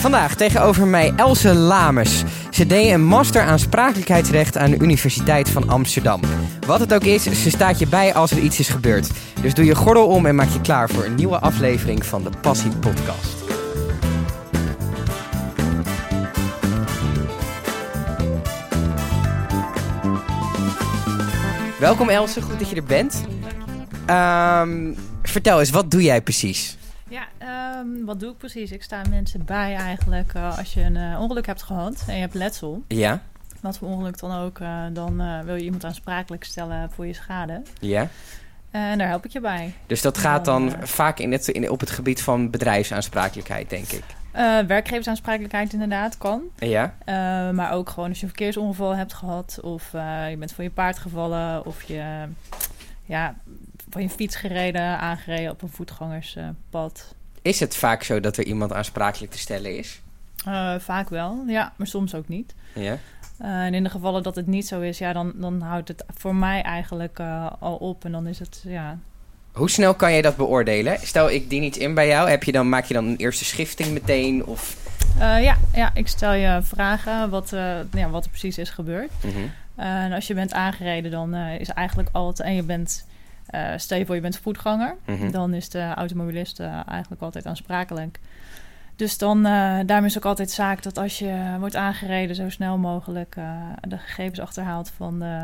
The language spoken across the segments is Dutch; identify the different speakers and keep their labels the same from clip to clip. Speaker 1: Vandaag tegenover mij Else Lames. Ze deed een master aansprakelijkheidsrecht aan de Universiteit van Amsterdam. Wat het ook is, ze staat je bij als er iets is gebeurd. Dus doe je gordel om en maak je klaar voor een nieuwe aflevering van de Passie Podcast. Welkom Else, goed dat je er bent. Ehm, vertel eens, wat doe jij precies?
Speaker 2: Ja, ehm, wat doe ik precies? Ik sta mensen bij eigenlijk eh, als je een eh, ongeluk hebt gehad en je hebt letsel.
Speaker 1: Ja,
Speaker 2: Wat voor ongeluk dan ook, eh, dan eh, wil je iemand aansprakelijk stellen voor je schade.
Speaker 1: ja.
Speaker 2: Eh, en daar help ik je bij.
Speaker 1: Dus dat gaat
Speaker 2: Dan,
Speaker 1: dan
Speaker 2: eh,
Speaker 1: vaak in het, in, op het gebied van bedrijfsaansprakelijkheid, denk ik.
Speaker 2: Eh, werkgeversaansprakelijkheid inderdaad kan.
Speaker 1: Ja,
Speaker 2: Eh, maar ook gewoon als je een verkeersongeval hebt gehad of eh, je bent van je paard gevallen of je ja, van je fiets gereden, aangereden op een voetgangerspad.
Speaker 1: is het vaak zo dat er iemand aansprakelijk te stellen is?
Speaker 2: Eh, vaak wel, ja, maar soms ook niet.
Speaker 1: Ja.
Speaker 2: Eh, en in de gevallen dat het niet zo is, ja, dan, dan houdt het voor mij eigenlijk eh, al op. En dan is het, ja.
Speaker 1: Hoe snel kan jij dat beoordelen? Stel, ik dien iets in bij jou, heb je dan, maak je dan een eerste schifting meteen? Of...
Speaker 2: Eh, ja, ja, ik stel je vragen wat, eh, ja, wat er precies is gebeurd.
Speaker 1: Mhm.
Speaker 2: Eh, en als je bent aangereden, dan eh, is eigenlijk altijd. En je bent, eh, stel je voor, je bent voetganger.
Speaker 1: Mhm.
Speaker 2: Dan is de automobilist eh, eigenlijk altijd aansprakelijk. Dus dan, eh daarom is ook altijd zaak dat als je wordt aangereden, zo snel mogelijk eh, de gegevens achterhaalt van de,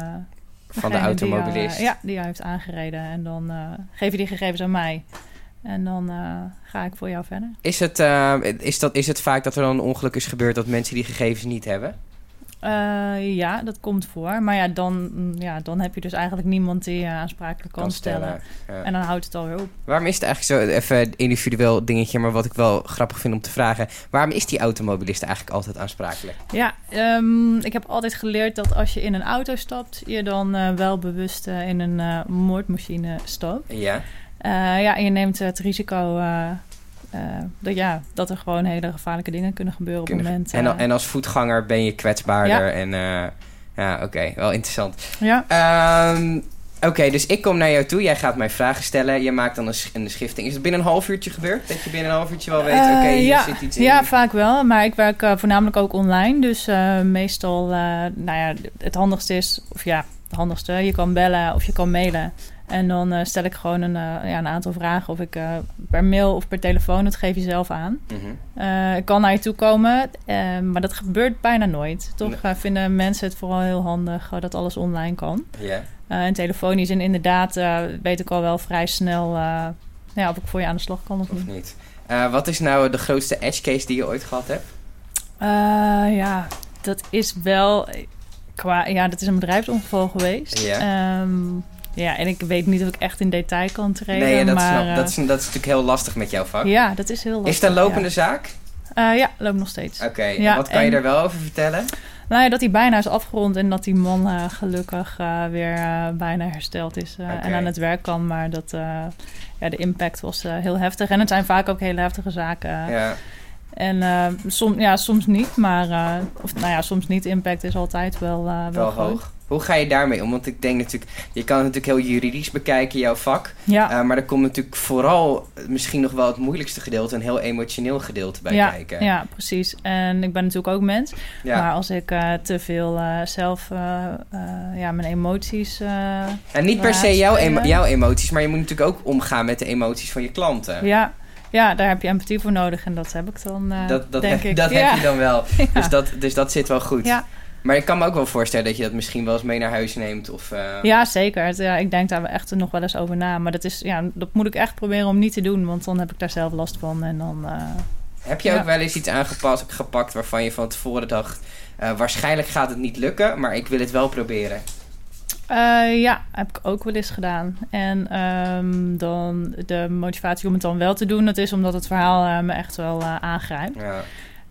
Speaker 1: Van de
Speaker 2: Degene die jou,
Speaker 1: automobilist.
Speaker 2: eh, ja, die jou heeft aangereden. En dan eh, geef je die gegevens aan mij. En dan eh, ga ik voor jou verder.
Speaker 1: Is, het, eh, is, dat, is het vaak dat er dan een ongeluk is gebeurd dat mensen die gegevens niet hebben?
Speaker 2: Eh, ja, dat komt voor. Maar ja dan, mm, ja, dan heb je dus eigenlijk niemand die je aansprakelijk kan, stellen.
Speaker 1: Ja.
Speaker 2: En dan houdt het alweer op.
Speaker 1: Waarom is het eigenlijk zo, even een individueel dingetje, maar wat ik wel grappig vind om te vragen. Waarom is die automobilist eigenlijk altijd aansprakelijk?
Speaker 2: Ja, ehm, ik heb altijd geleerd dat als je in een auto stapt, je dan eh, wel bewust eh, in een eh, moordmachine stapt.
Speaker 1: Ja.
Speaker 2: Eh, ja, en je neemt het risico eh, eh, dat, ja, dat er gewoon hele gevaarlijke dingen kunnen gebeuren
Speaker 1: Kunnen
Speaker 2: op het moment.
Speaker 1: En, al-
Speaker 2: eh,
Speaker 1: en als voetganger ben je kwetsbaarder. En eh, ja, oké, wel interessant.
Speaker 2: ja.
Speaker 1: Ehm, oké, dus ik kom naar jou toe. Jij gaat mij vragen stellen. Je maakt dan een, sch- een schifting. Is het binnen een half uurtje gebeurd? Dat je binnen een half uurtje wel weet, oké,
Speaker 2: Eh,
Speaker 1: hier
Speaker 2: ja,
Speaker 1: zit iets in.
Speaker 2: Ja, vaak wel. Maar ik werk eh, voornamelijk ook online. Dus eh, meestal, eh, nou ja, het handigste is, of ja, het handigste, je kan bellen of je kan mailen. En dan eh, stel ik gewoon een, eh, ja, een aantal vragen. Of ik eh, per mail of per telefoon, dat geef je zelf aan.
Speaker 1: Mhm.
Speaker 2: Eh, ik kan naar je toe komen, eh, maar dat gebeurt bijna nooit. Toch eh, vinden mensen het vooral heel handig eh, dat alles online kan.
Speaker 1: Ja.
Speaker 2: Eh, en telefonisch en inderdaad eh, weet ik al wel vrij snel eh, ja, of ik voor je aan de slag kan of niet.
Speaker 1: Of niet? Eh, wat is nou de grootste edge case die je ooit gehad hebt?
Speaker 2: Eh, ja, dat is wel. Qua, ja, dat is een bedrijfsongeval geweest.
Speaker 1: Ja.
Speaker 2: Ehm, ja, en ik weet niet of ik echt in detail kan treden.
Speaker 1: nee, ja, dat,
Speaker 2: maar,
Speaker 1: snap.
Speaker 2: eh,
Speaker 1: dat, is, dat is natuurlijk heel lastig met jouw vak.
Speaker 2: Ja, dat is heel lastig.
Speaker 1: is het een lopende
Speaker 2: Ja,
Speaker 1: zaak?
Speaker 2: Eh, ja loopt nog steeds.
Speaker 1: Oké,
Speaker 2: Ja,
Speaker 1: wat kan je
Speaker 2: en-
Speaker 1: daar wel over vertellen?
Speaker 2: Nou ja, dat hij bijna is afgerond en dat die man eh, gelukkig eh, weer eh, bijna hersteld is eh,
Speaker 1: Oké.
Speaker 2: en aan het werk kan. Maar dat, eh, ja, de impact was eh, heel heftig. En het zijn vaak ook hele heftige zaken.
Speaker 1: Ja.
Speaker 2: En eh, som, ja, soms niet, maar eh, of, nou ja, soms niet. Impact is altijd wel, eh, wel,
Speaker 1: Wel
Speaker 2: groot.
Speaker 1: hoog. Hoe ga je daarmee om? Want ik denk natuurlijk, je kan het natuurlijk heel juridisch bekijken, jouw vak.
Speaker 2: Ja.
Speaker 1: Eh, maar er komt natuurlijk vooral eh, misschien nog wel het moeilijkste gedeelte, een heel emotioneel gedeelte bij
Speaker 2: ja,
Speaker 1: kijken.
Speaker 2: Ja, precies. En ik ben natuurlijk ook mens.
Speaker 1: Ja.
Speaker 2: Maar als ik eh, te veel eh, zelf eh, eh, ja, mijn emoties. eh,
Speaker 1: En niet per
Speaker 2: Ja,
Speaker 1: se jouw, emo-
Speaker 2: spelen.
Speaker 1: jouw emoties, maar je moet natuurlijk ook omgaan met de emoties van je klanten.
Speaker 2: ja, ja, daar heb je empathie voor nodig. En dat heb ik dan. eh,
Speaker 1: dat dat,
Speaker 2: denk
Speaker 1: heb,
Speaker 2: ik.
Speaker 1: dat
Speaker 2: ja.
Speaker 1: heb je dan wel.
Speaker 2: Ja.
Speaker 1: Dus, dat, dus dat zit wel goed.
Speaker 2: Ja.
Speaker 1: Maar ik kan me ook wel voorstellen dat je dat misschien wel eens mee naar huis neemt. Of, eh,
Speaker 2: Ja, zeker. Het, ja, ik denk daar wel echt nog wel eens over na. Maar dat, is, ja, dat moet ik echt proberen om niet te doen. Want dan heb ik daar zelf last van. En dan. eh,
Speaker 1: Heb je
Speaker 2: Ja.
Speaker 1: ook wel eens iets aangepast, gepakt waarvan je van tevoren dacht... eh, waarschijnlijk gaat het niet lukken, maar ik wil het wel proberen.
Speaker 2: Eh, ja, heb ik ook wel eens gedaan. En ehm, dan de motivatie om het dan wel te doen, dat is omdat het verhaal eh, me echt wel eh, aangrijpt.
Speaker 1: Ja.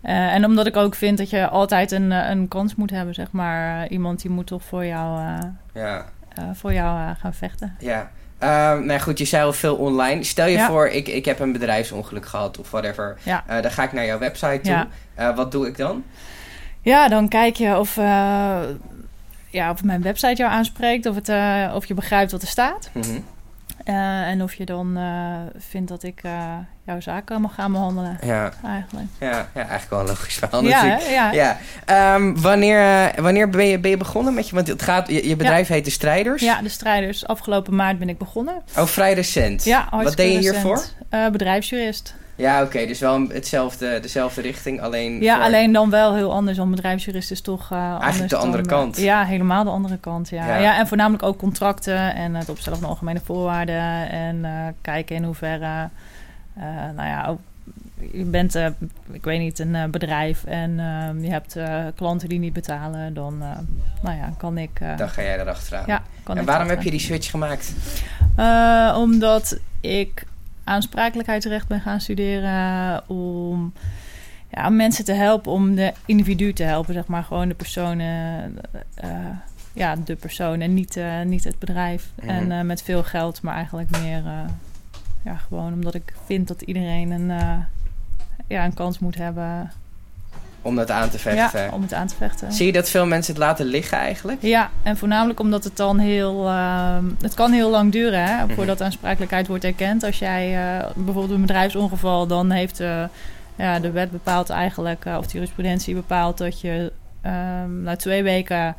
Speaker 2: Eh, en omdat ik ook vind dat je altijd een, eh, een kans moet hebben, zeg maar. Eh, iemand die moet toch voor jou, eh,
Speaker 1: ja.
Speaker 2: eh, voor jou eh, gaan vechten.
Speaker 1: Ja. Ehm, nou ja, goed, je zei al veel online. Stel je
Speaker 2: Ja.
Speaker 1: voor, ik, ik heb een bedrijfsongeluk gehad of whatever.
Speaker 2: Ja.
Speaker 1: Eh, dan ga ik naar jouw website toe.
Speaker 2: Ja.
Speaker 1: Eh, wat doe ik dan?
Speaker 2: Ja, dan kijk je of, eh, ja, of mijn website jou aanspreekt, of, het, eh, of je begrijpt wat er staat.
Speaker 1: Mhm.
Speaker 2: Eh, Eh, en of je dan eh, vindt dat ik eh, jouw zaken mag gaan behandelen,
Speaker 1: Ja,
Speaker 2: eigenlijk.
Speaker 1: ja, ja eigenlijk wel een logisch verhaal
Speaker 2: ja,
Speaker 1: natuurlijk.
Speaker 2: hè? ja.
Speaker 1: Ja. Ehm, wanneer eh, wanneer ben, je, ben je begonnen met je... Want het gaat, je, je bedrijf heet De Strijders.
Speaker 2: Ja, de strijders. Afgelopen maart ben ik begonnen.
Speaker 1: Ook vrij recent.
Speaker 2: Ja,
Speaker 1: Wat deed je
Speaker 2: hartstikke
Speaker 1: hiervoor?
Speaker 2: recent. Eh, bedrijfsjurist.
Speaker 1: Ja, oké. dus wel een- hetzelfde, dezelfde richting, alleen...
Speaker 2: Ja,
Speaker 1: voor-
Speaker 2: alleen dan wel heel anders. Want bedrijfsjurist is toch eh, anders
Speaker 1: de
Speaker 2: dan,
Speaker 1: andere
Speaker 2: eh,
Speaker 1: kant.
Speaker 2: ja, helemaal de andere kant. Ja.
Speaker 1: Ja.
Speaker 2: Ja. en voornamelijk ook contracten en het opstellen van algemene voorwaarden. En eh, kijken in hoeverre, eh, nou ja, ook, je bent, eh, ik weet niet, een eh, bedrijf en eh, je hebt eh, klanten die niet betalen. Dan, eh, nou ja, kan ik... eh,
Speaker 1: Dan ga jij erachteraan.
Speaker 2: ja, kan
Speaker 1: en
Speaker 2: ik
Speaker 1: waarom
Speaker 2: dat,
Speaker 1: heb
Speaker 2: eh,
Speaker 1: je die switch gemaakt?
Speaker 2: eh, omdat ik aansprakelijkheidsrecht ben gaan studeren om ja, om mensen te helpen, om de individu te helpen, zeg maar. Gewoon de personen, eh, ja, de persoon en niet, eh, niet het bedrijf.
Speaker 1: Mhm.
Speaker 2: En eh, met veel geld, maar eigenlijk meer eh, ja, gewoon omdat ik vind dat iedereen een, eh, ja, een kans moet hebben
Speaker 1: Om dat aan te vechten.
Speaker 2: ja, om het aan te vechten.
Speaker 1: Zie je dat veel mensen het laten liggen eigenlijk?
Speaker 2: Ja, en voornamelijk omdat het dan heel... ehm, het kan heel lang duren hè, voordat aansprakelijkheid wordt erkend. Als jij eh, bijvoorbeeld een bedrijfsongeval... dan heeft eh, ja, de wet bepaalt eigenlijk... eh, of de jurisprudentie bepaalt dat je ehm, na twee weken...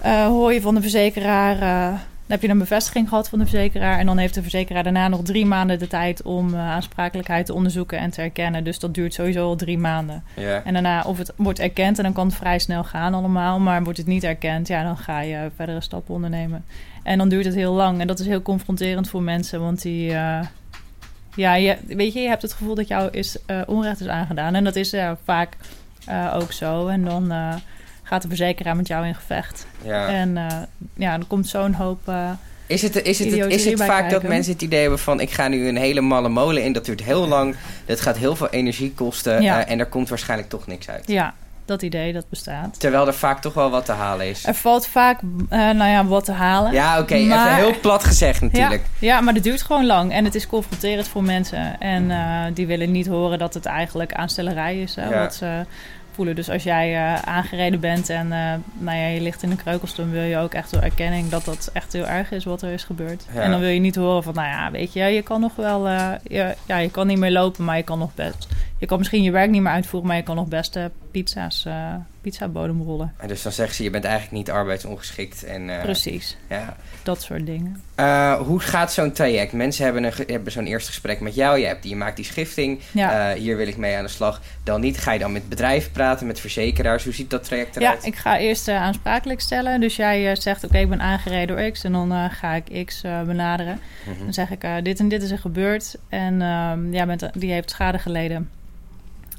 Speaker 2: eh, hoor je van de verzekeraar... eh, dan heb je een bevestiging gehad van de verzekeraar... en dan heeft de verzekeraar daarna nog drie maanden de tijd... om eh, aansprakelijkheid te onderzoeken en te erkennen. Dus dat duurt sowieso al drie maanden.
Speaker 1: Ja.
Speaker 2: En daarna, of het wordt erkend en dan kan het vrij snel gaan allemaal. Maar wordt het niet erkend, ja, dan ga je verdere stappen ondernemen. En dan duurt het heel lang. En dat is heel confronterend voor mensen. Want die, eh, ja, je, weet je, je hebt het gevoel dat jou is, eh, onrecht is aangedaan. En dat is ja, vaak eh, ook zo. En dan eh, gaat de verzekeraar met jou in gevecht.
Speaker 1: ja.
Speaker 2: En eh, ja, dan komt zo'n hoop... eh,
Speaker 1: Is het, is het,
Speaker 2: Idioterie
Speaker 1: is het
Speaker 2: bij
Speaker 1: vaak dat
Speaker 2: kijken.
Speaker 1: mensen het idee hebben van... ik ga nu een hele malle molen in, dat duurt heel lang. Dat gaat heel veel energie kosten
Speaker 2: Ja.
Speaker 1: eh, en er komt waarschijnlijk toch niks uit.
Speaker 2: ja, dat idee, dat bestaat.
Speaker 1: Terwijl er vaak toch wel wat te halen is.
Speaker 2: Er valt vaak, eh, nou ja, wat te halen.
Speaker 1: Ja, oké.
Speaker 2: Maar-
Speaker 1: Even heel plat gezegd natuurlijk.
Speaker 2: Ja, ja, maar dat duurt gewoon lang en het is confronterend voor mensen. En eh, die willen niet horen dat het eigenlijk aanstellerij is, hè,
Speaker 1: Ja.
Speaker 2: wat ze voelen. Dus als jij eh, aangereden bent en eh, nou ja, je ligt in de kreukels, dan wil je ook echt door erkenning dat dat echt heel erg is wat er is gebeurd.
Speaker 1: Ja.
Speaker 2: En dan wil je niet horen van, nou ja, weet je, je kan nog wel, eh, je, ja, je kan niet meer lopen, maar je kan nog best. Je kan misschien je werk niet meer uitvoeren, maar je kan nog best eh, pizza's, eh pizza bodemrollen.
Speaker 1: En dus dan zeggen ze, je bent eigenlijk niet arbeidsongeschikt. En, eh,
Speaker 2: Precies,
Speaker 1: Ja.
Speaker 2: dat soort dingen.
Speaker 1: Eh, hoe gaat zo'n traject? Mensen hebben, een, ge- hebben zo'n eerste gesprek met jou. Je, hebt, je maakt die schifting.
Speaker 2: Ja.
Speaker 1: Eh, hier wil ik mee aan de slag. Dan niet. Ga je dan met bedrijven praten, met verzekeraars? Hoe ziet dat traject
Speaker 2: Ja,
Speaker 1: eruit?
Speaker 2: ik ga eerst eh, aansprakelijk stellen. Dus jij eh, zegt, oké, ik ben aangereden door X. En dan eh, ga ik X eh, benaderen.
Speaker 1: Mhm.
Speaker 2: Dan zeg ik, eh, dit en dit is er gebeurd. En ehm, jij bent, die heeft schade geleden.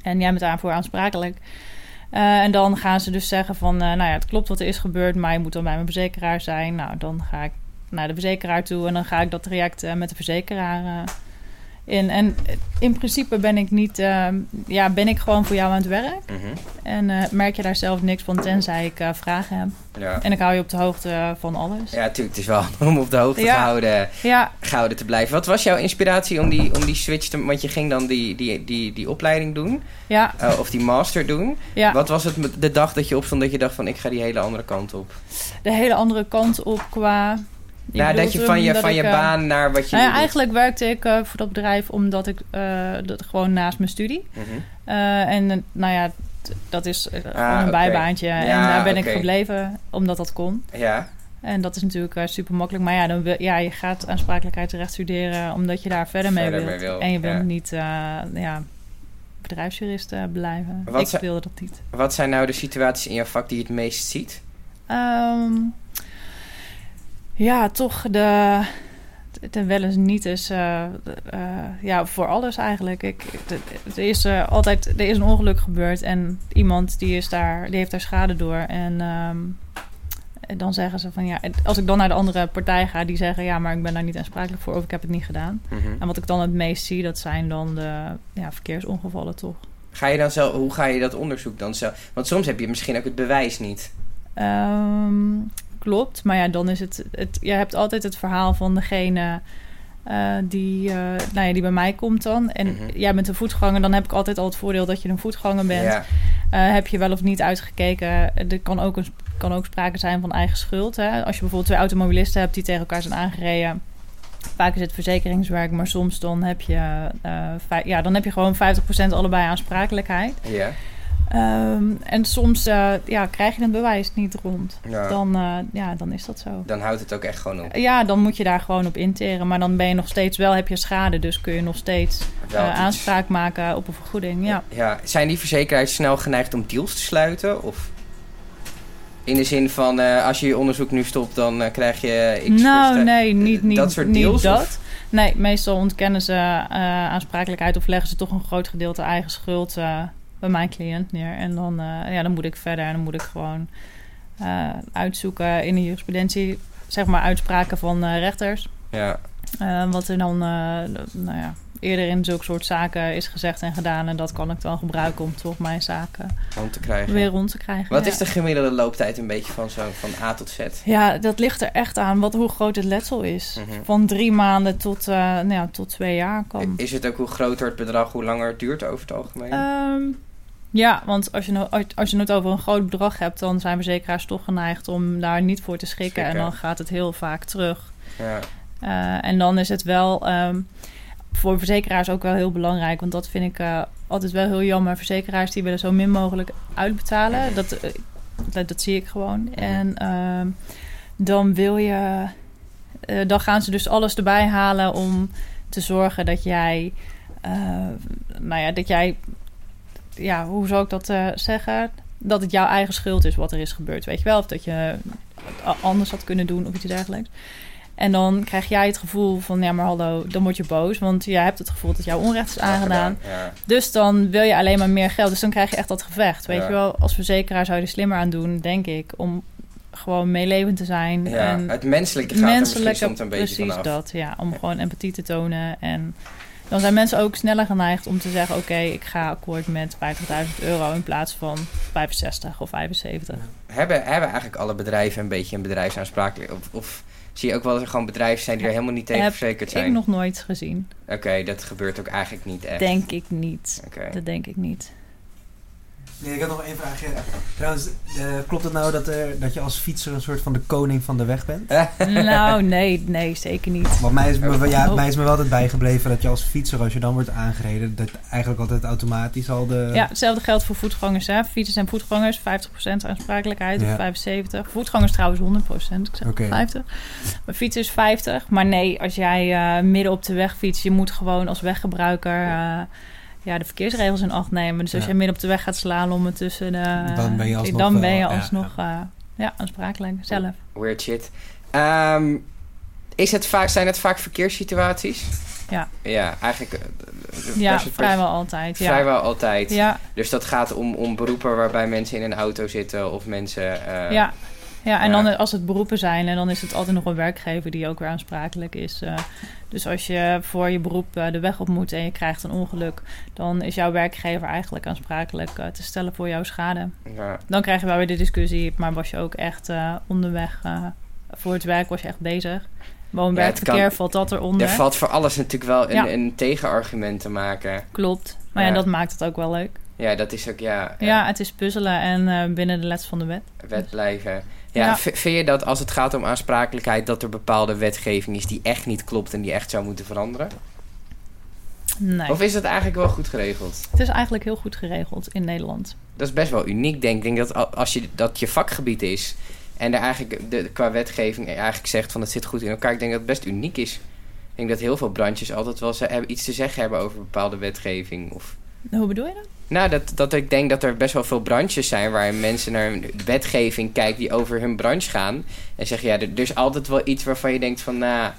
Speaker 2: En jij bent daarvoor aansprakelijk. Eh, en dan gaan ze dus zeggen van, eh, nou ja, het klopt wat er is gebeurd. Maar je moet dan bij mijn verzekeraar zijn. Nou, dan ga ik naar de verzekeraar toe. En dan ga ik dat traject eh, met de verzekeraar eh, in. En eh, in principe ben ik niet, eh, ja, ben ik gewoon voor jou aan het werk.
Speaker 1: Mhm.
Speaker 2: En eh, merk je daar zelf niks van, tenzij ik eh, vragen heb.
Speaker 1: Ja.
Speaker 2: En ik hou je op de hoogte eh, van alles. Ja,
Speaker 1: Ja, natuurlijk. Het is wel om op de hoogte
Speaker 2: Ja.
Speaker 1: gehouden,
Speaker 2: ja,
Speaker 1: gehouden te blijven. Wat was jouw inspiratie om die, om die switch te... Want je ging dan die, die, die, die opleiding doen.
Speaker 2: ja.
Speaker 1: eh, of die master doen. Wat was het met de dag dat je opstond dat je dacht van... ik ga die hele andere kant op?
Speaker 2: De hele andere kant op qua... Je
Speaker 1: nou, dat
Speaker 2: bedoelt
Speaker 1: je van
Speaker 2: hem
Speaker 1: je,
Speaker 2: dat
Speaker 1: van
Speaker 2: ik,
Speaker 1: je
Speaker 2: eh,
Speaker 1: baan naar wat je
Speaker 2: Nou ja,
Speaker 1: nu doet.
Speaker 2: eigenlijk werkte ik eh, voor dat bedrijf omdat ik eh, dat gewoon naast mijn studie.
Speaker 1: Mhm.
Speaker 2: Eh, en eh, nou ja, t- dat is eh, gewoon een
Speaker 1: Ah, oké.
Speaker 2: bijbaantje. en
Speaker 1: Ja,
Speaker 2: daar ben
Speaker 1: oké.
Speaker 2: ik gebleven omdat dat kon.
Speaker 1: Ja,
Speaker 2: En dat is natuurlijk super makkelijk. Maar ja, dan wil- ja, je gaat aansprakelijkheid terecht studeren omdat je daar verder mee
Speaker 1: Verder
Speaker 2: wilt.
Speaker 1: mee wil,
Speaker 2: en je
Speaker 1: ja.
Speaker 2: wilt niet eh, ja, bedrijfsjurist eh, blijven.
Speaker 1: Wat
Speaker 2: ik
Speaker 1: zijn-
Speaker 2: wilde dat niet.
Speaker 1: wat zijn nou de situaties in jouw vak die je het meest ziet?
Speaker 2: Ehm, ja, toch de. de wel eens niet is. eh, eh, ja, voor alles eigenlijk. Ik, de- de- er is eh, altijd. Er is een ongeluk gebeurd en iemand die, is daar, die heeft daar schade door. En. ehm, en dan zeggen ze van ja, en als ik dan naar de andere partij ga, die zeggen ja, maar ik ben daar niet aansprakelijk voor of ik heb het niet gedaan. En wat ik dan het meest zie, dat zijn dan de ja, verkeersongevallen toch.
Speaker 1: Ga je dan zelf, hoe ga je dat onderzoek dan zelf? Want soms heb je misschien ook het bewijs niet.
Speaker 2: Ehm, klopt, maar ja, dan is het, het. Je hebt altijd het verhaal van degene eh, die, eh, nou ja, die bij mij komt dan. En
Speaker 1: Mhm.
Speaker 2: jij bent een voetganger, dan heb ik altijd al het voordeel dat je een voetganger bent.
Speaker 1: Ja.
Speaker 2: Eh, heb je wel of niet uitgekeken? Eh, Er kan ook, een, kan ook sprake zijn van eigen schuld. Hè? Als je bijvoorbeeld twee automobilisten hebt die tegen elkaar zijn aangereden. Vaak is het verzekeringswerk, maar soms dan heb je, eh, vij- ja, dan heb je gewoon 50% allebei aansprakelijkheid.
Speaker 1: Ja.
Speaker 2: Ehm, en soms eh, ja, krijg je het bewijs niet rond.
Speaker 1: Ja.
Speaker 2: Dan, eh, ja, dan is dat zo.
Speaker 1: Dan houdt het ook echt gewoon op.
Speaker 2: Ja, dan moet je daar gewoon op interen. Maar dan ben je nog steeds wel, heb je schade. Dus kun je nog steeds
Speaker 1: Wel
Speaker 2: eh,
Speaker 1: iets.
Speaker 2: aanspraak maken op een vergoeding. Ja.
Speaker 1: ja. Zijn die verzekeraars snel geneigd om deals te sluiten? Of in de zin van, eh, als je je onderzoek nu stopt, dan eh, krijg je x
Speaker 2: nou,
Speaker 1: kosten?
Speaker 2: nee, niet, niet
Speaker 1: dat soort
Speaker 2: niet
Speaker 1: deals,
Speaker 2: dat.
Speaker 1: of?
Speaker 2: Nee, meestal ontkennen ze eh, aansprakelijkheid of leggen ze toch een groot gedeelte eigen schuld eh, bij mijn cliënt neer. En dan, eh, ja, dan moet ik verder en dan moet ik gewoon eh, uitzoeken in de jurisprudentie, zeg maar uitspraken van eh, rechters.
Speaker 1: Ja.
Speaker 2: Eh, wat er dan eh, d- nou ja, eerder in zulke soort zaken is gezegd en gedaan. En dat kan ik dan gebruiken om toch mijn zaken
Speaker 1: Om te krijgen.
Speaker 2: weer rond te krijgen.
Speaker 1: Wat
Speaker 2: ja.
Speaker 1: is de gemiddelde looptijd een beetje van zo, van A tot Z?
Speaker 2: Ja, dat ligt er echt aan wat, hoe groot het letsel is.
Speaker 1: Mhm.
Speaker 2: Van drie maanden tot, eh, nou ja, tot twee jaar kan.
Speaker 1: Is het ook hoe groter het bedrag, hoe langer het duurt over het algemeen?
Speaker 2: Ehm, ja, want als je, no- als- als je het over een groot bedrag hebt, dan zijn verzekeraars toch geneigd om daar niet voor te schikken.
Speaker 1: Schrikken.
Speaker 2: En dan gaat het heel vaak terug.
Speaker 1: ja.
Speaker 2: Eh, en dan is het wel ehm, voor verzekeraars ook wel heel belangrijk. Want dat vind ik eh, altijd wel heel jammer. Verzekeraars die willen zo min mogelijk uitbetalen. Dat, eh, dat, dat zie ik gewoon. En ehm, dan wil je. eh, dan gaan ze dus alles erbij halen om te zorgen dat jij. eh, nou ja, dat jij. Ja, hoe zou ik dat eh, zeggen? Dat het jouw eigen schuld is wat er is gebeurd. Weet je wel? Of dat je het a- anders had kunnen doen of iets dergelijks. En dan krijg jij het gevoel van, ja maar hallo, dan word je boos. Want jij hebt het gevoel dat jouw onrecht is aangedaan.
Speaker 1: Ja.
Speaker 2: Dus dan wil je alleen maar meer geld. Dus dan krijg je echt dat gevecht. Weet
Speaker 1: Ja.
Speaker 2: je wel, als verzekeraar zou je er slimmer aan doen, denk ik. Om gewoon meelevend te zijn.
Speaker 1: Ja,
Speaker 2: en
Speaker 1: het menselijke gaat er misschien soms een beetje
Speaker 2: precies
Speaker 1: vanaf.
Speaker 2: dat. Ja, om gewoon empathie te tonen. En dan zijn mensen ook sneller geneigd om te zeggen... oké, ik ga akkoord met 50.000 euro in plaats van 65 of 75.
Speaker 1: Hebben, hebben eigenlijk alle bedrijven een beetje een bedrijfsaansprakelijk? Of, of zie je ook wel dat er gewoon bedrijven zijn die er helemaal niet tegen
Speaker 2: Heb
Speaker 1: verzekerd
Speaker 2: Ik
Speaker 1: zijn?
Speaker 2: nog nooit gezien.
Speaker 1: Oké, dat gebeurt ook eigenlijk niet echt.
Speaker 2: Denk ik niet.
Speaker 1: Oké.
Speaker 2: Dat denk ik niet.
Speaker 3: Nee, ik had nog één vraagje. Trouwens, eh, klopt het nou dat, er, dat je als fietser een soort van de koning van de weg bent?
Speaker 2: nou, nee, nee, zeker niet.
Speaker 3: Want mij is, me, wel- ja,
Speaker 2: Oh.
Speaker 3: mij is me wel altijd bijgebleven dat je als fietser, als je dan wordt aangereden, dat eigenlijk altijd automatisch al de...
Speaker 2: Ja, hetzelfde geldt voor voetgangers. Hè. Fietsers en voetgangers, 50% aansprakelijkheid
Speaker 3: Ja.
Speaker 2: of 75%. Voetgangers trouwens 100%, ik zeg
Speaker 3: Oké.
Speaker 2: 50. Maar fietsers 50. Maar nee, als jij eh, midden op de weg fietst, je moet gewoon als weggebruiker eh, ja, de verkeersregels in acht nemen. Dus als
Speaker 3: Ja.
Speaker 2: jij midden op de weg gaat slaan om het tussen de...
Speaker 3: Dan ben je alsnog
Speaker 2: dan
Speaker 3: wel-
Speaker 2: ben je
Speaker 3: ja,
Speaker 2: alsnog, eh, ja, aansprakelijk zelf.
Speaker 1: Weird shit. Ehm, is het vaak, zijn het vaak verkeerssituaties?
Speaker 2: Ja.
Speaker 1: Ja, eigenlijk eh, eh,
Speaker 2: Ja,
Speaker 1: best- best-
Speaker 2: vrijwel altijd. Ja.
Speaker 1: vrijwel altijd.
Speaker 2: Ja,
Speaker 1: Dus dat gaat om, om beroepen waarbij mensen in een auto zitten of mensen... eh,
Speaker 2: Ja. Ja, en
Speaker 1: Ja.
Speaker 2: dan als het beroepen zijn, en dan is het altijd nog een werkgever die ook weer aansprakelijk is. Eh, dus als je voor je beroep eh, de weg op moet en je krijgt een ongeluk, dan is jouw werkgever eigenlijk aansprakelijk eh, te stellen voor jouw schade.
Speaker 1: ja.
Speaker 2: Dan krijg je wel weer de discussie, maar was je ook echt eh, onderweg eh, voor het werk, was je echt bezig? Woon-werkverkeer,
Speaker 1: Ja, het kan-
Speaker 2: valt dat
Speaker 1: Er
Speaker 2: eronder?
Speaker 1: valt voor alles natuurlijk wel een,
Speaker 2: Ja.
Speaker 1: een tegenargument te maken.
Speaker 2: Klopt. Maar ja.
Speaker 1: Ja.
Speaker 2: dat maakt het ook wel leuk.
Speaker 1: Ja, dat is ook, ja, eh,
Speaker 2: Ja, het is puzzelen en eh, binnen de les van de wet.
Speaker 1: wet blijven. Ja,
Speaker 2: Ja.
Speaker 1: v- vind je dat als het gaat om aansprakelijkheid... dat er bepaalde wetgeving is die echt niet klopt en die echt zou moeten veranderen?
Speaker 2: Nee,
Speaker 1: Of is dat eigenlijk wel goed geregeld?
Speaker 2: het is eigenlijk heel goed geregeld in Nederland.
Speaker 1: Dat is best wel uniek, denk ik. Ik denk dat al- als je, dat je vakgebied is... en er eigenlijk de, qua wetgeving eigenlijk zegt van... dat zit goed in elkaar, ik denk dat het best uniek is. Ik denk dat heel veel branches altijd wel ze- hebben- iets te zeggen hebben... over bepaalde wetgeving of...
Speaker 2: Hoe bedoel je dat?
Speaker 1: Nou, dat, dat ik denk dat er best wel veel branches zijn waar mensen naar een wetgeving kijken die over hun branche gaan. En zeggen, ja, er, er is altijd wel iets waarvan je denkt van, nou,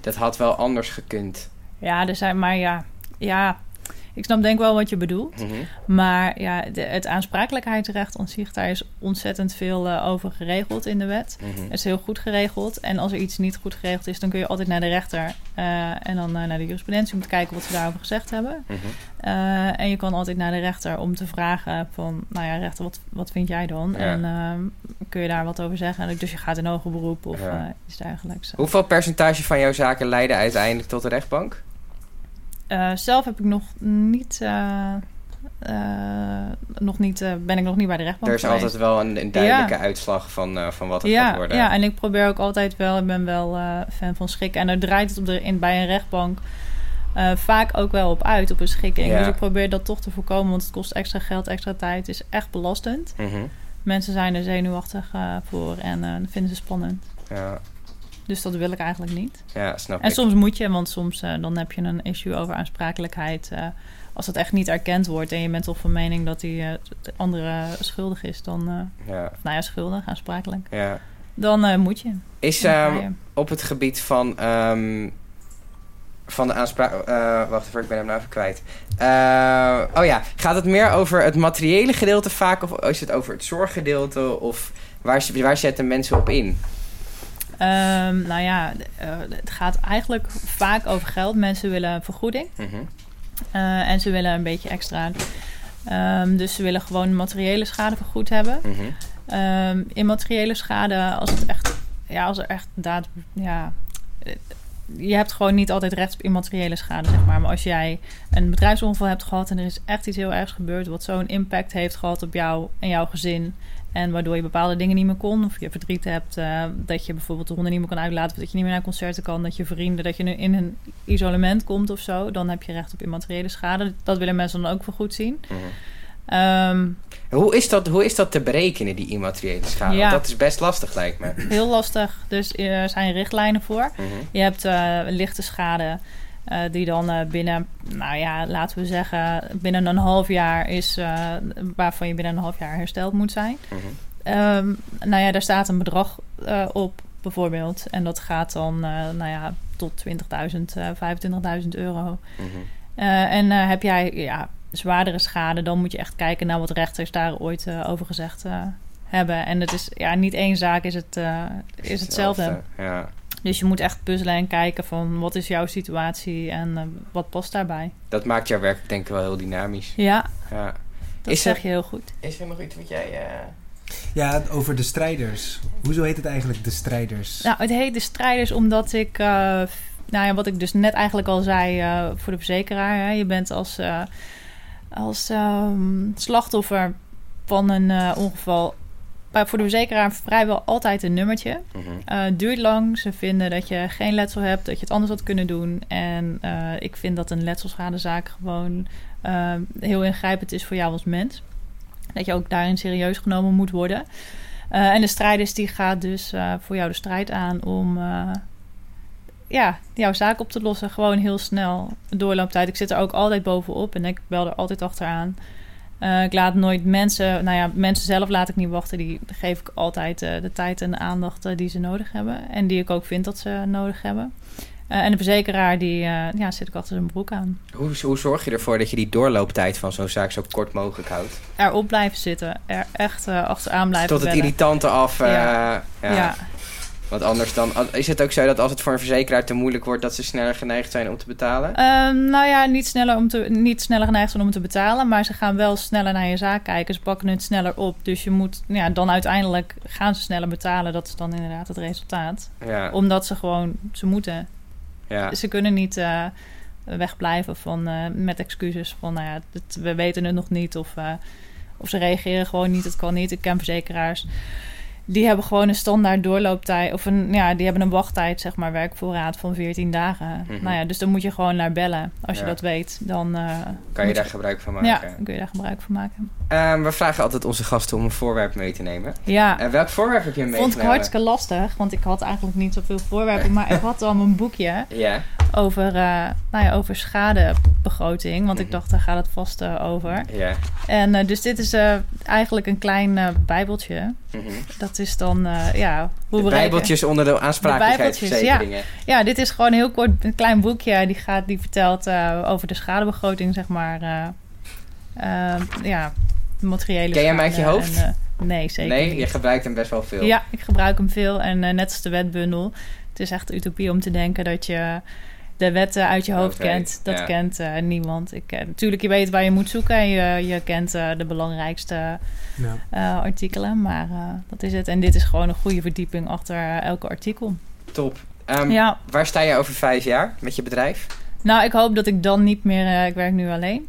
Speaker 1: dat had wel anders gekund.
Speaker 2: Ja, er zijn, maar ja, ja, ik snap denk wel wat je bedoelt.
Speaker 1: Mhm.
Speaker 2: Maar ja, de- het aansprakelijkheidsrecht aan zich, daar is ontzettend veel eh, over geregeld in de wet.
Speaker 1: Mhm.
Speaker 2: Het is heel goed geregeld. En als er iets niet goed geregeld is, dan kun je altijd naar de rechter eh, en dan eh, naar de jurisprudentie om te kijken wat ze daarover gezegd hebben.
Speaker 1: Mhm.
Speaker 2: Eh, en je kan altijd naar de rechter om te vragen van, nou ja, rechter, wat, wat vind jij dan?
Speaker 1: Ja.
Speaker 2: En ehm, kun je daar wat over zeggen? Dus je gaat in hoger beroep of
Speaker 1: Ja.
Speaker 2: eh, iets dergelijks.
Speaker 1: Hoeveel percentage van jouw zaken leiden uiteindelijk tot de rechtbank?
Speaker 2: Eh, zelf heb ik nog niet eh, eh, nog niet, eh, ben ik nog niet bij de rechtbank
Speaker 1: Er is
Speaker 2: geweest.
Speaker 1: altijd wel een, een duidelijke uitslag van, eh, van wat het gaat
Speaker 2: ja,
Speaker 1: worden.
Speaker 2: ja, en ik probeer ook altijd wel, ik ben wel eh, fan van schikken. En daar draait het op de, in, bij een rechtbank eh, vaak ook wel op uit, op een schikking.
Speaker 1: Ja.
Speaker 2: Dus ik probeer dat toch te voorkomen, want het kost extra geld, extra tijd. Het is echt belastend.
Speaker 1: Mhm,
Speaker 2: Mensen zijn er zenuwachtig eh, voor en eh, dat vinden ze spannend.
Speaker 1: ja,
Speaker 2: Dus dat wil ik eigenlijk niet.
Speaker 1: ja, snap
Speaker 2: En
Speaker 1: ik.
Speaker 2: soms moet je, want soms eh, dan heb je een issue over aansprakelijkheid. eh, als dat echt niet erkend wordt en je bent toch van mening dat die eh, de andere schuldig is, dan, eh,
Speaker 1: Ja,
Speaker 2: nou ja, schuldig, aansprakelijk,
Speaker 1: ja.
Speaker 2: dan eh, moet je.
Speaker 1: Is
Speaker 2: Dan ga
Speaker 1: ehm,
Speaker 2: je.
Speaker 1: op het gebied van, ehm, van de aanspraak... eh, wacht even, ik ben hem nou even kwijt. Eh, oh ja, gaat het meer over het materiële gedeelte vaak... of is het over het zorggedeelte? Of waar, waar zetten mensen op in?
Speaker 2: Ehm, nou ja, eh, het gaat eigenlijk vaak over geld. Mensen willen een vergoeding
Speaker 1: Mhm,
Speaker 2: eh, en ze willen een beetje extra. Ehm, dus ze willen gewoon materiële schade vergoed hebben.
Speaker 1: mhm.
Speaker 2: Ehm immateriële schade, als het echt, ja, als er echt daad, ja. eh, Je hebt gewoon niet altijd recht op immateriële schade, zeg maar. Maar als jij een bedrijfsongeval hebt gehad en er is echt iets heel ergs gebeurd, wat zo'n impact heeft gehad op jou en jouw gezin. En waardoor je bepaalde dingen niet meer kon. Of je verdriet hebt. eh, dat je bijvoorbeeld de honden niet meer kan uitlaten. Of dat je niet meer naar concerten kan. Dat je vrienden. Dat je nu in een isolement komt of zo. Dan heb je recht op immateriële schade. Dat willen mensen dan ook voorgoed zien.
Speaker 1: Mhm.
Speaker 2: Ehm,
Speaker 1: Hoe is, dat, hoe is dat te berekenen, die immateriële schade?
Speaker 2: Ja.
Speaker 1: Want dat is best lastig, lijkt me.
Speaker 2: heel lastig. Dus er zijn richtlijnen voor.
Speaker 1: Mhm,
Speaker 2: Je hebt eh, lichte schade eh, die dan eh, binnen, nou ja, laten we zeggen, binnen een half jaar is, eh, waarvan je binnen een half jaar hersteld moet zijn.
Speaker 1: mhm.
Speaker 2: Ehm, nou ja, daar staat een bedrag eh, op bijvoorbeeld. En dat gaat dan, eh, nou ja, tot 20.000, eh 25.000 euro.
Speaker 1: Mhm.
Speaker 2: Eh, en eh, heb jij ja, zwaardere schade, dan moet je echt kijken naar wat rechters daar ooit eh, over gezegd eh, hebben. En het is ja, niet één zaak, is het, eh, is eh, hetzelfde.
Speaker 1: Ja.
Speaker 2: Dus je moet echt puzzelen en kijken van wat is jouw situatie en eh, wat past daarbij.
Speaker 1: Dat maakt jouw werk denk ik wel heel dynamisch.
Speaker 2: Ja,
Speaker 1: Ja.
Speaker 2: dat
Speaker 1: Is
Speaker 2: zeg
Speaker 1: er-
Speaker 2: je heel goed.
Speaker 1: Is er nog iets wat jij... eh,
Speaker 3: Ja, over de strijders. Hoezo heet het eigenlijk de strijders?
Speaker 2: Nou, het heet de strijders omdat ik, eh, nou ja, wat ik dus net eigenlijk al zei eh, voor de verzekeraar. Hè, je bent als, eh, als ehm, slachtoffer van een eh, ongeval bij- voor de verzekeraar vrijwel altijd een nummertje.
Speaker 1: Mhm.
Speaker 2: Eh, Het duurt lang. Ze vinden dat je geen letsel hebt, dat je het anders had kunnen doen. En eh, ik vind dat een letselschadezaak gewoon eh, heel ingrijpend is voor jou als mens. Dat je ook daarin serieus genomen moet worden. Eh, en de strijders die gaat dus eh, voor jou de strijd aan om eh, ja, jouw zaak op te lossen. Gewoon heel snel doorlooptijd. Ik zit er ook altijd bovenop en ik bel er altijd achteraan. Eh, ik laat nooit mensen, nou ja, mensen zelf laat ik niet wachten. Die geef ik altijd eh, de tijd en de aandacht eh, die ze nodig hebben. En die ik ook vind dat ze nodig hebben. Eh, en de verzekeraar, die eh, ja, zit ik achter zijn broek aan.
Speaker 1: Hoe, hoe zorg je ervoor dat je die doorlooptijd van zo'n zaak zo kort mogelijk houdt?
Speaker 2: Erop blijven zitten. Er echt eh, achteraan blijven
Speaker 1: Tot het
Speaker 2: bellen.
Speaker 1: irritante af. eh,
Speaker 2: Ja.
Speaker 1: ja.
Speaker 2: ja,
Speaker 1: Want anders dan... Is het ook zo dat als het voor een verzekeraar te moeilijk wordt... dat ze sneller geneigd zijn om te betalen?
Speaker 2: Ehm, nou ja, niet sneller, om te, niet sneller geneigd zijn om te betalen. Maar ze gaan wel sneller naar je zaak kijken. Ze pakken het sneller op. Dus je moet nou ja, dan uiteindelijk gaan ze sneller betalen. Dat is dan inderdaad het resultaat.
Speaker 1: Ja.
Speaker 2: Omdat ze gewoon, ze moeten.
Speaker 1: ja.
Speaker 2: Ze kunnen niet eh, wegblijven van, eh, met excuses van, nou ja, het- we weten het nog niet. Of, eh, of ze reageren gewoon niet, het kan niet. Ik ken verzekeraars. Die hebben gewoon een standaard doorlooptijd. Of een, ja, die hebben een wachttijd, zeg maar, werkvoorraad van 14 dagen.
Speaker 1: Mhm.
Speaker 2: Nou ja, dus dan moet je gewoon naar bellen. Als je
Speaker 1: Ja.
Speaker 2: dat weet, dan eh,
Speaker 1: Kan je
Speaker 2: moet
Speaker 1: daar gebruik van
Speaker 2: ja,
Speaker 1: maken?
Speaker 2: dan kun je daar gebruik van maken.
Speaker 1: Ehm, we vragen altijd onze gasten om een voorwerp mee te nemen.
Speaker 2: Ja,
Speaker 1: En Eh, welk voorwerp heb je meegenomen?
Speaker 2: vond ik hartstikke lastig. Want ik had eigenlijk niet zoveel voorwerpen. Maar ik had al mijn boekje.
Speaker 1: Ja.
Speaker 2: over, eh, nou ja, over schadebegroting. Want ik
Speaker 1: Mhm.
Speaker 2: dacht, daar gaat het vast eh, over.
Speaker 1: Ja.
Speaker 2: En eh, dus dit is eh, eigenlijk een klein eh, bijbeltje.
Speaker 1: Mhm.
Speaker 2: Dat is dan, eh, ja, hoe
Speaker 1: De
Speaker 2: we rekenen.
Speaker 1: bijbeltjes onder de aansprakelijkheidsverzekeringen.
Speaker 2: Ja, dit is gewoon heel kort een klein boekje. Die, gaat, die vertelt eh, over de schadebegroting, zeg maar. eh, eh, ja, materiële
Speaker 1: Ken jij hem uit
Speaker 2: schade
Speaker 1: je hoofd?
Speaker 2: en, eh, nee, zeker
Speaker 1: Nee,
Speaker 2: niet.
Speaker 1: je gebruikt hem best wel veel.
Speaker 2: Ja, ik gebruik hem veel. En eh, net als de wetbundel. Het is echt utopie om te denken dat je de wetten uit je hoofd
Speaker 1: Oké,
Speaker 2: kent. Dat
Speaker 1: ja.
Speaker 2: kent eh, niemand. Ik, eh, natuurlijk, je weet waar je moet zoeken. En je, je kent eh, de belangrijkste
Speaker 3: Nou,
Speaker 2: eh, artikelen. Maar eh, dat is het. En dit is gewoon een goede verdieping achter eh, elke artikel.
Speaker 1: Top. Ehm,
Speaker 2: ja,
Speaker 1: Waar sta je over vijf jaar met je bedrijf?
Speaker 2: Nou, ik hoop dat ik dan niet meer... eh, ik werk nu alleen.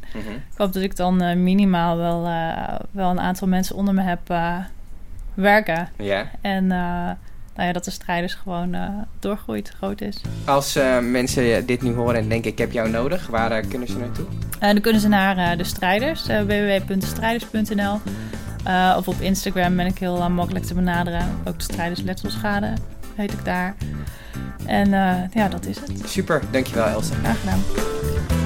Speaker 2: Ik hoop dat ik dan eh, minimaal wel, eh, wel een aantal mensen onder me heb eh, werken.
Speaker 1: Ja.
Speaker 2: En eh, nou ja, dat de strijd dus gewoon eh, doorgroeit, groot is.
Speaker 1: Als eh, mensen eh, dit nu horen en denken ik heb jou nodig, waar eh, kunnen ze naartoe?
Speaker 2: Eh, dan kunnen ze naar eh, de strijders, eh, www.strijders.nl. Eh, of op Instagram ben ik heel eh, makkelijk te benaderen. Ook de strijders letselschade heet ik daar. En eh, ja, dat is het.
Speaker 1: Super, dankjewel Elsa.
Speaker 2: Graag gedaan.